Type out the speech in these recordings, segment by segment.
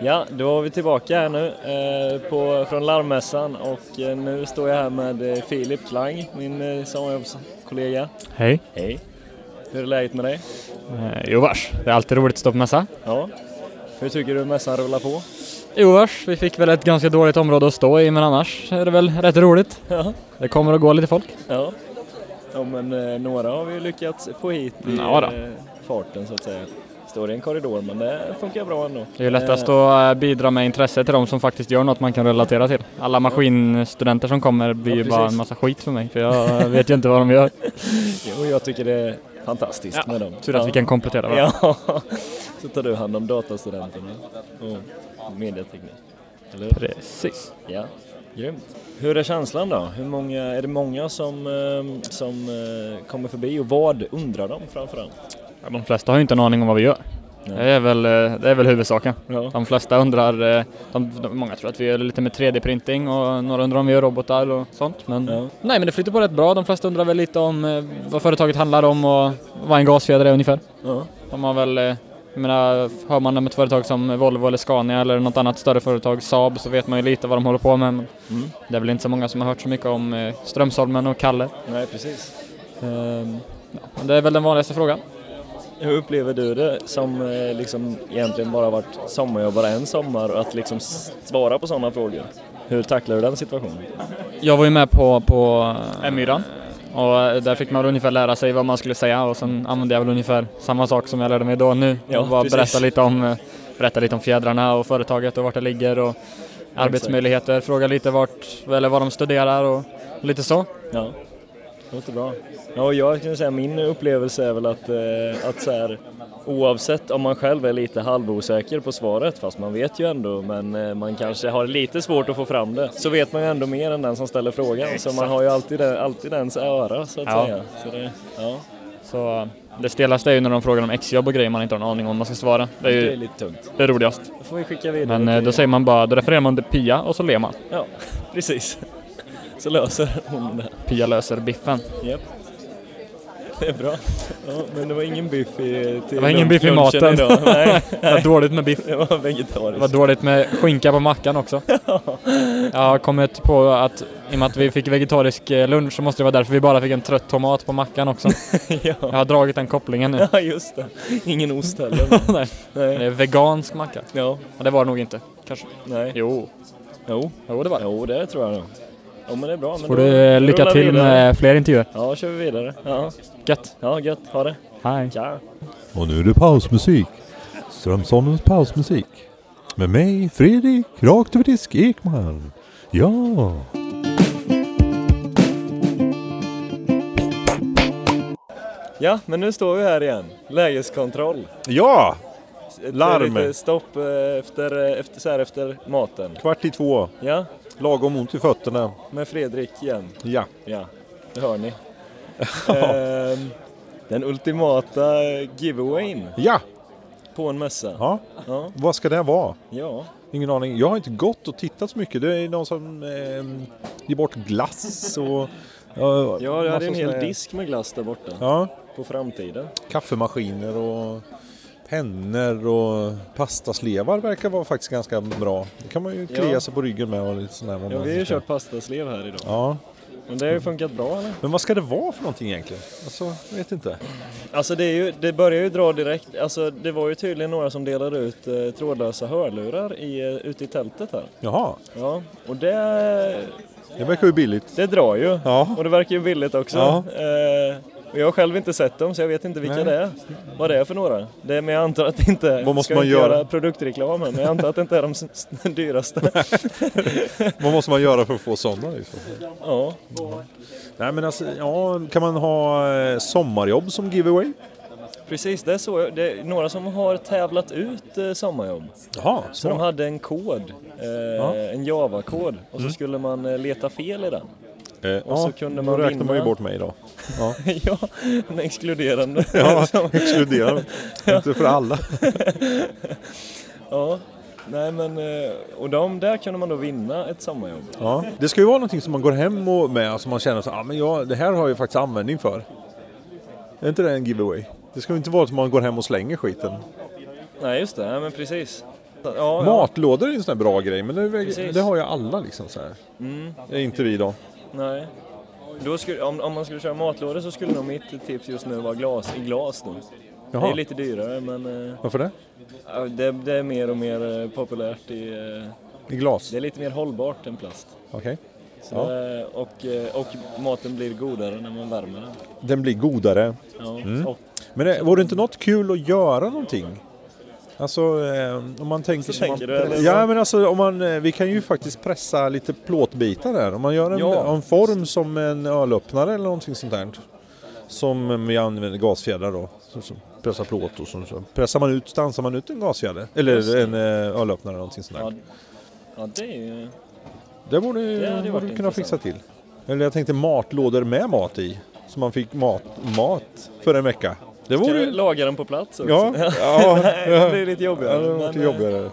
Ja, då var vi tillbaka här nu eh, på, från larmmässan och eh, nu står jag här med eh, Filip Klang, min eh, sommarjobbskollega. Hej. Hej! Hur är läget med dig? Eh, jo vars, det är alltid roligt att stå på mässa. Ja. Hur tycker du mässan rullar på? Jo vars, vi fick väl ett ganska dåligt område att stå i men annars är det väl rätt roligt. Ja. Det kommer att gå lite folk. Ja, ja men eh, några har vi ju lyckats få hit i Ja då. eh, farten så att säga. Står i en korridor men det funkar bra ändå. Det är ju lättast att eh, bidra med intresse till de som faktiskt gör något man kan relatera till. Alla maskinstudenter som kommer blir Ja, ju bara precis. en massa skit för mig för jag eh, vet ju inte vad de gör. Och jag tycker det är fantastiskt Ja, med dem. Tur att vi kan komplettera varandra. Ja, så tar du hand om datastudenterna och mediateknik. Eller hur? Precis. Ja, grymt. Hur är känslan då? Hur många, är det många som, eh, som eh, kommer förbi och vad undrar de framförallt? Ja, De flesta har ju inte en aning om vad vi gör. Nej. Det är, väl, eh, det är väl huvudsaken. Ja. De flesta undrar, eh, de, de, många tror att vi gör lite med 3D-printing och några undrar om vi gör robotar och sånt. Men, Ja. Nej men det flyter på rätt bra, de flesta undrar väl lite om eh, vad företaget handlar om och vad en gasfjäder är ungefär. Ja. De har väl, eh, jag menar, hör man om ett företag som Volvo eller Scania eller något annat större företag, Saab, så vet man ju lite vad de håller på med. Men Mm. det är väl inte så många som har hört så mycket om eh, Strömsholmen och Kalle. Nej, precis. Ehm, ja, men det är väl den vanligaste frågan. Hur upplever du det som eh, liksom egentligen bara varit sommarjobbare en sommar och att liksom s- svara på sådana frågor? Hur tacklar du den situationen? Jag var ju med på, på Myran och där fick man väl ungefär lära sig vad man skulle säga och sen använde jag väl ungefär samma sak som jag lärde mig då nu. Ja, och bara precis. berätta lite, om, eh, berätta lite om fjädrarna och företaget och vart det ligger och arbetsmöjligheter, fråga lite vart, eller vad de studerar och lite så. Ja, det låter bra. Ja, och jag kan säga min upplevelse är väl att, eh, att så här, oavsett om man själv är lite halvosäker på svaret, fast man vet ju ändå, men eh, man kanske har lite svårt att få fram det, så vet man ju ändå mer än den som ställer frågan. Så man har ju alltid, den, alltid ens öra så att Ja. säga. Så det, ja, Så eh, det stelaste är ju när de frågar om exjobb och grejer man inte har en aning om man ska svara. Det är det är ju lite tungt. det roligast. Då får vi skicka vidare. Men eh, till- då säger man bara, då refererar man till Pia och så ler man. Ja, precis. Så löser hon det. Pia löser biffen. Japp. Det är bra. Ja, men det var ingen biff i till Det var ingen biff i lunchen maten. Idag. Nej, Det var dåligt med biff. det var Det vegetariskt. var dåligt med skinka på mackan också. Jag har kommit på att i och med att vi fick vegetarisk eh, lunch så måste det vara därför vi bara fick en trött tomat på mackan också. Jag ja. har dragit den kopplingen nu. ja, just det. Ingen ost heller. Nej. Det Nej. är vegansk macka. Ja, Men det var det nog inte. Kanske. nej. Jo. Jo. Jo, det var det. Jo, det tror jag nog. Ja, men det är bra. Men Får då- du eh, då lycka rullar vi till vidare. med fler intervjuer. Ja, kör vi vidare. Ja, Gött. ja gött. Ha det. Hej. Tja. Och nu är det pausmusik. Strömsholmens pausmusik. Med mig, Fredrik, rakt över disk Ekman. Ja! Ja, men nu står vi här igen. Lägeskontroll. Ja! Ett Larm. litet stopp eh, efter, eh, efter, så här efter maten. Kvart i två. Ja, Lagom ont i fötterna. med Fredrik igen. Ja. Ja, det hör ni. Ehm, den ultimata giveawayn Ja! på en mässa. ja. Ja, Vad ska det vara? ja. Ingen aning. Jag har inte gått och tittat så mycket. Det är någon som eh, ger bort glass och... Ja, ja jag hade en hel sådana- disk med glass där borta. Ja, På framtiden. kaffemaskiner och pennor och pastaslevar verkar vara faktiskt ganska bra. Det kan man ju klia Ja. sig på ryggen med och lite sådär. vad Ja, man vi har ju ska- kört pastaslev här idag. Ja, Men det har ju funkat bra eller? men vad ska det vara för någonting egentligen? Alltså, jag vet inte. Alltså det, är ju, det börjar ju dra direkt. Alltså det var ju tydligen några som delade ut eh, trådlösa hörlurar i, eh, ute i tältet här. Jaha, Ja, och det, det verkar ju billigt. det drar ju. Ja. Och det verkar ju billigt också. Ja. Eh, och jag har själv inte sett dem så jag vet inte vilka Nej. det är. Vad det är för några. Det är, men jag antar att det inte... Vad måste ska man inte göra? göra produktreklamen. Men jag antar att det inte är de s- s- dyraste. Vad måste man göra för att få sådana? Liksom? Ja. Nej men alltså, ja, kan man ha eh, sommarjobb som giveaway? Precis, det är så. jag- Det är några som har tävlat ut eh, sommarjobb. Jaha, Så de så. hade en kod, eh, Ja. Mm. en Java-kod och så skulle man eh, leta fel i den. Eh, och så kunde man då räknar man ju vinna. bort mig då. Ja, ja, en exkluderande. ja Som- exkluderar mig. Inte för alla. ja. Nej men, eh, och de där kunde man då vinna ett sommarjobb. Ja, det ska ju vara någonting som man går hem och med och som man känner så ah, men jag, det här har jag faktiskt användning för. Är inte det en giveaway? Det ska ju inte vara att man går hem och slänger skiten. Nej just det, ja, men precis. Ja, ja. Matlådor är en sån här bra grej, men det, Precis. det har ju alla liksom så här. Mm, Det är inte vi då. nej. Då skulle, om, om man skulle köra matlådor så skulle nog mitt tips just nu vara glas i glas nu. Det Jaha, är lite dyrare men eh, varför det? ja, det, det är mer och mer eh, populärt i... eh, I glas? Det är lite mer hållbart än plast. Okej. Så Ja. det, och, eh, och maten blir godare när man värmer den. Den blir godare. Ja. Mm. Och Men det, vore det inte något kul att göra någonting? Alltså eh, om man tänker... Så tänker man, du, eller? Ja men alltså om man, eh, vi kan ju faktiskt pressa lite plåtbitar där. Om man gör en, Ja. en form som en ölöppnare eller någonting sånt där. Som eh, vi använder gasfjädrar då. Som, som pressar plåt och så, så pressar man ut, stansar man ut en gasfjäder. Eller en eh, ölöppnare eller någonting sånt där. Ja, ja, det är ju... Det borde ju Det hade ju borde varit kunna fixa intressant. till. Eller jag tänkte matlådor med mat i. Så man fick mat, mat för en vecka. Det Ska vore du ju... laga den på plats också? Ja, det ja. blir lite Ja, jobbigare. det har varit men, eh, jobbigare.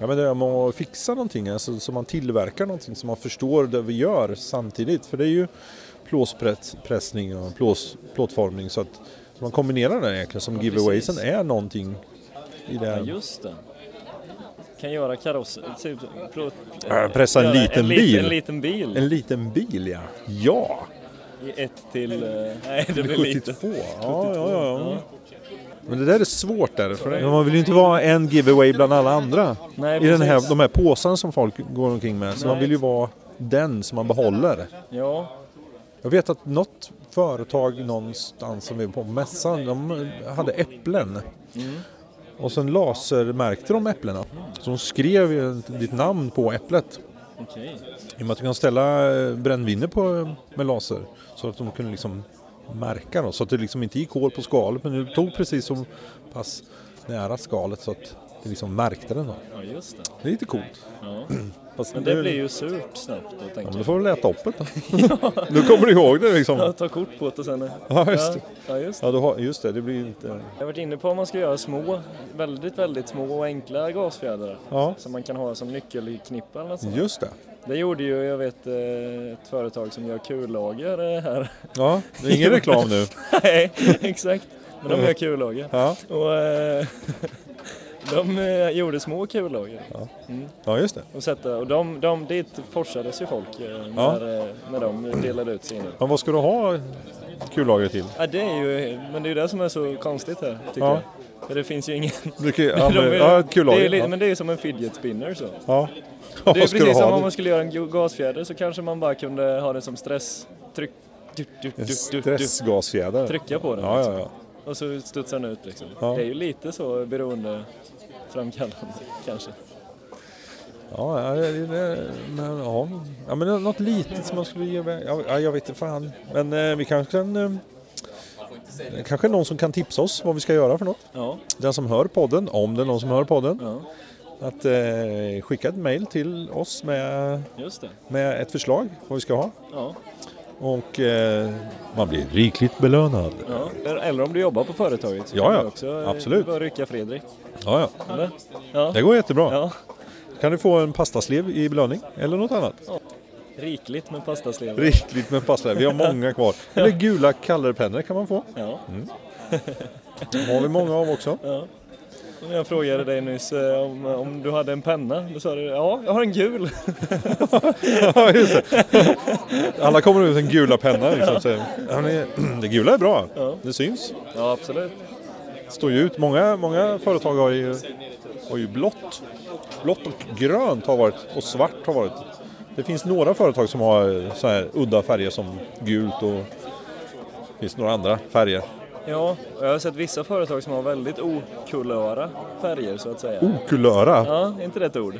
Ja, men det är med att fixa någonting, alltså, så man tillverkar någonting så man förstår det vi gör samtidigt. För det är ju plåspressning och plås, plåtformning så att så man kombinerar det egentligen som giveawaysen precis. är någonting i det. Ja, här. just det. Kan göra kaross... Typ, plåt, Ja, pressa en göra liten en lit- bil. En liten bil. En liten bil ja. Ja! I ett till... eh, Nej, det blir litet. 72. Ja, ja, ja, ja. Men det där är svårt där. För man vill ju inte vara en giveaway bland alla andra. Nej, I den här, precis. de här påsarna som folk går omkring med. Så man Nej. vill ju vara den som man behåller. Ja, Jag vet att något företag någonstans som vi var på mässan, de hade äpplen. Mm. Och sen lasermärkte de äpplena. Så de skrev ju ditt namn på äpplet. okej. I och med att du kan ställa eh, brännviner på, med laser så att de kunde liksom märka då, så att det liksom inte gick hål på skalet men du tog precis som pass nära skalet så att det liksom märkte den då. Ja, just det. Det är lite coolt. Ja. Fast Men det blir ju surt snabbt då, tänker Mm. Ja, men jag. då får du äta upp det då. då kommer du ihåg det Ja, liksom. ta kort på det och sen... Ja, just det. Ja, just det. Ja, du har, just det, det blir ju inte... Jag har varit inne på om man ska göra små, väldigt, väldigt små och enkla gasfjädrar. Ja, Som man kan ha som nyckelknippa eller något sånt. just det. Det gjorde ju, jag vet, eh, ett företag som gör kullager eh, här. Ja, det är ingen reklam nu. Nej, exakt. Men de gör kullager. Ja, Och eh, de eh, gjorde små kullager. ja just det. Och, sätta, och de, de, dit forsades ju folk eh, Ja. när, eh, när de delade ut sina. Men vad ska du ha kullager till? Ja, det är ju, men det är ju det som är så konstigt här, tycker Ja. jag. För det finns ju ingen... Du kan, ja, de men, är- ja, det är, kullager. lite- Ja. Men det är ju som en fidget spinner så. Ja. Det är Vad ska du precis som ha? om man skulle göra en go- gasfjäder så kanske man bara kunde ha den som stress... Tryck, du, du, du, En du, du, stressgasfjäder. trycka på den Ja, liksom. ja, ja. och så studsar den ut liksom. Ja. Det är ju lite så beroendeframkallande kanske. Ja, ja, det, det, men, ja. ja, men något litet som man skulle ge iväg. Ja, ja, jag vet inte fan. Men eh, vi kanske kan... Eh, det kanske är någon som kan tipsa oss vad vi ska göra för något. Ja, Den som hör podden, om det är någon som hör podden, ja, att eh, skicka ett mejl till oss med, just det. med ett förslag vad vi ska ha. Ja, Och eh, man blir rikligt belönad. ja. Eller om du jobbar på företaget så Ja, kan ja. du också eh, Absolut. bara rycka Fredrik. Ja, ja. Eller? Ja. Det går jättebra. ja. Kan du få en pastaslev i belöning eller något annat? Rikligt med pastaslever. Riktigt med pastaslev. Vi har många kvar. Eller gula kallerpennor kan man få. Ja. Mm. De har vi många av också. Och Jag frågade dig nyss eh, om, om du hade en penna. Då sa du ja, jag har en gul. Ja, just det. Alla kommer ut med en gula penna. Liksom, så. Ja, men Det gula är bra. Ja. Det syns. Ja, absolut. Det står ju ut. Många, många företag har ju, har ju blått. Blått och grönt har varit och svart har varit. Det finns några företag som har eh, så här udda färger som gult och det finns några andra färger. Ja, och jag har sett vissa företag som har väldigt okulöra färger så att säga. Okulöra. Ja, inte rätt ord.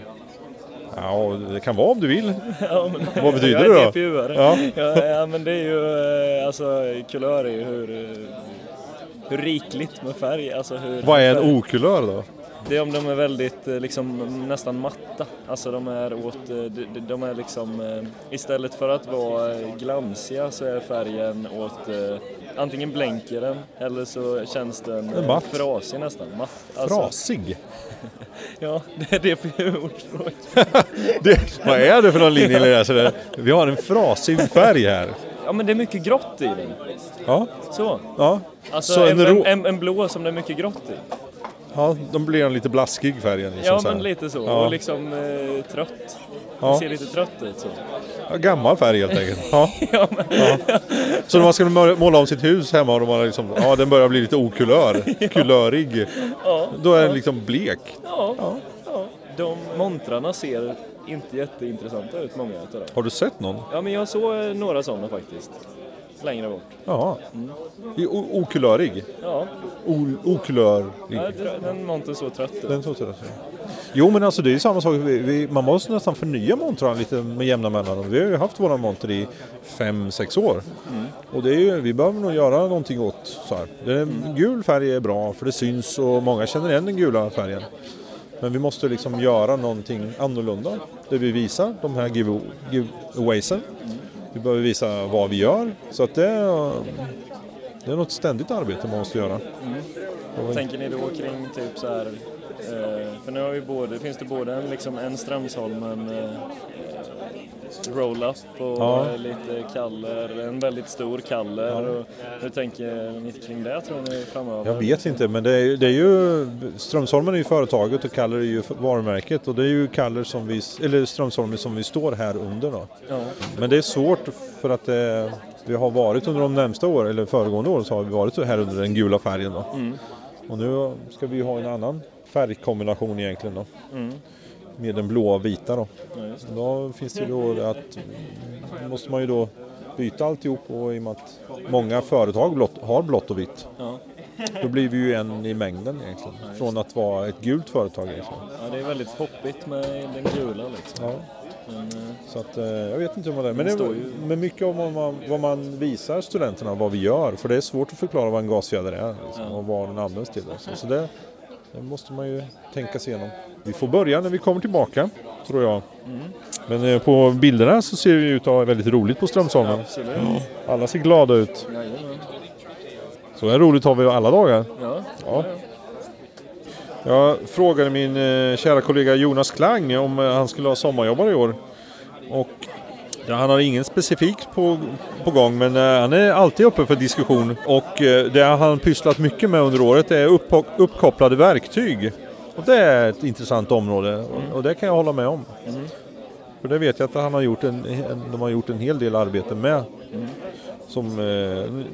Ja, det kan vara om du vill. Ja, men, Vad betyder jag det är då? GPU-are. Ja. Ja, ja, men det är ju, eh, alltså kulör är ju hur, eh, hur rikligt med färg, alltså hur... Vad är färg- en okulör då? Det är om de är väldigt, eh, liksom nästan matta. Alltså de är åt, eh, de- de- de är liksom, eh, istället för att vara eh, glansiga så är färgen åt, eh, antingen blänker den eller så känns den eh, Matt. frasig nästan. Matt. Alltså, Frasig. Ja, det är DPU-ordspråk. Det, vad är det för någon linje? Elias? Vi har en frasig färg här. Ja men det är mycket grått i den. Ja, Så. ja. Alltså Så en en, en, ro- en, en blå som det är mycket grått i. Ja, de blir en lite blaskig färgen. Liksom, Ja så här. men lite så, Ja. och liksom eh, trött. Ja. Den ser lite trött ut så. Ja, gammal färg helt enkelt. Ja. Ja, men, Så när man ska mö- måla om sitt hus hemma och de har liksom, ja, den börjar bli lite okulör, kulörig, ja, då är den liksom blek. ja, ja. De montrarna ser inte jätteintressanta ut många utav dem. Har du sett någon? Ja men jag såg eh, några sådana faktiskt. Längre bort. Ja. Mm. Det är o- okulörig. Ja, O- okulörig. jag tror- den monten såg trött ut. Den tog sig där, så. Jo men alltså det är ju samma sak, vi, vi, man måste nästan förnya montrarna lite med jämna mellanrum. Vi har ju haft våra monter i 5-6 år. Och det är ju, vi behöver nog göra någonting åt så här. Den gul färg är bra för det syns och många känner igen den gula färgen. Men vi måste liksom göra någonting annorlunda. Där vi visar de här give- giveawaysen. Vi behöver visa vad vi gör. Så att det, är- det är något ständigt arbete man måste göra. Tänker ni då kring typ så här, eh, för nu har vi både, finns det både en, liksom en Strömsholmen eh, roll-up och Ja. eh, lite kaller, en väldigt stor kaller. Och hur tänker ni kring det tror ni framöver? Jag vet inte, men det är, det är ju Strömsholmen är ju företaget och Kaller är ju varumärket och det är ju Kaller som vi, eller Strömsholmen som vi står här under då. Ja. Men det är svårt för att eh, vi har varit under de närmsta åren, eller föregående år så har vi varit här under den gula färgen då. Och nu ska vi ju ha en annan färgkombination egentligen då. Med den blåa och vita då. Ja, just. Då finns det ju då att måste man ju då byta alltihop och i och med att många företag blått, har blått och vitt. Ja. Då blir vi ju en i mängden egentligen. Från att vara ett gult företag egentligen. ja, det är väldigt poppigt med den gula liksom. Ja. Men, eh, Så att, eh, jag vet inte om det är. Men, Den det, står ju- men mycket om vad man, vad man visar studenterna, vad vi gör. För det är svårt att förklara vad en gasfjäder är liksom, och vad den används till. Liksom. Så det, det måste man ju tänka sig igenom. Vi får börja när vi kommer tillbaka, tror jag. Mm. Men eh, på bilderna så ser det ju ut att ha väldigt roligt på Strömsholmen. absolut. Alla ser glada ut. Jajamän. Så här roligt har vi ju alla dagar. Ja. Ja. Jag frågade min eh, kära kollega Jonas Klang om eh, han skulle ha sommarjobbare i år. Och ja, han har ingen specifik på, på gång men eh, han är alltid uppe för diskussion. Och eh, det han har pysslat mycket med under året är uppho- uppkopplade verktyg. Och det är ett intressant område och, och det kan jag hålla med om. För det vet jag att han har gjort en, en, de har gjort en hel del arbete med som eh,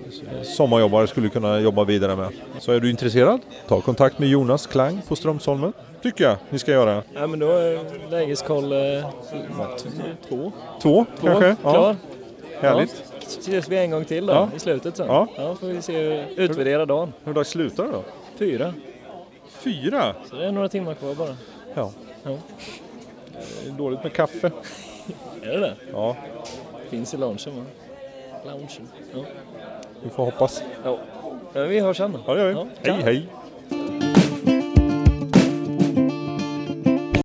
sommarjobbare skulle kunna jobba vidare med. Så är du intresserad, ta kontakt med Jonas Klang på Strömsholmen. Tycker jag ni ska göra. ja, men då är lägeskoll eh, t- två. Två, kanske? Två, klar. härligt. Ja. Ses vi en gång till då, Ja. i slutet sen. Ja. får vi se, hur- utvärdera dagen. Hur dags slutar det då? Fyra. Fyra? Så det är några timmar kvar bara. Ja. Ja. Det är dåligt med kaffe. Är det det? Ja, Finns i loungen va? Loungen. Ja. vi får hoppas. ja. Men vi hörs sen då. Ja, det gör vi. Ja. Hej, hej.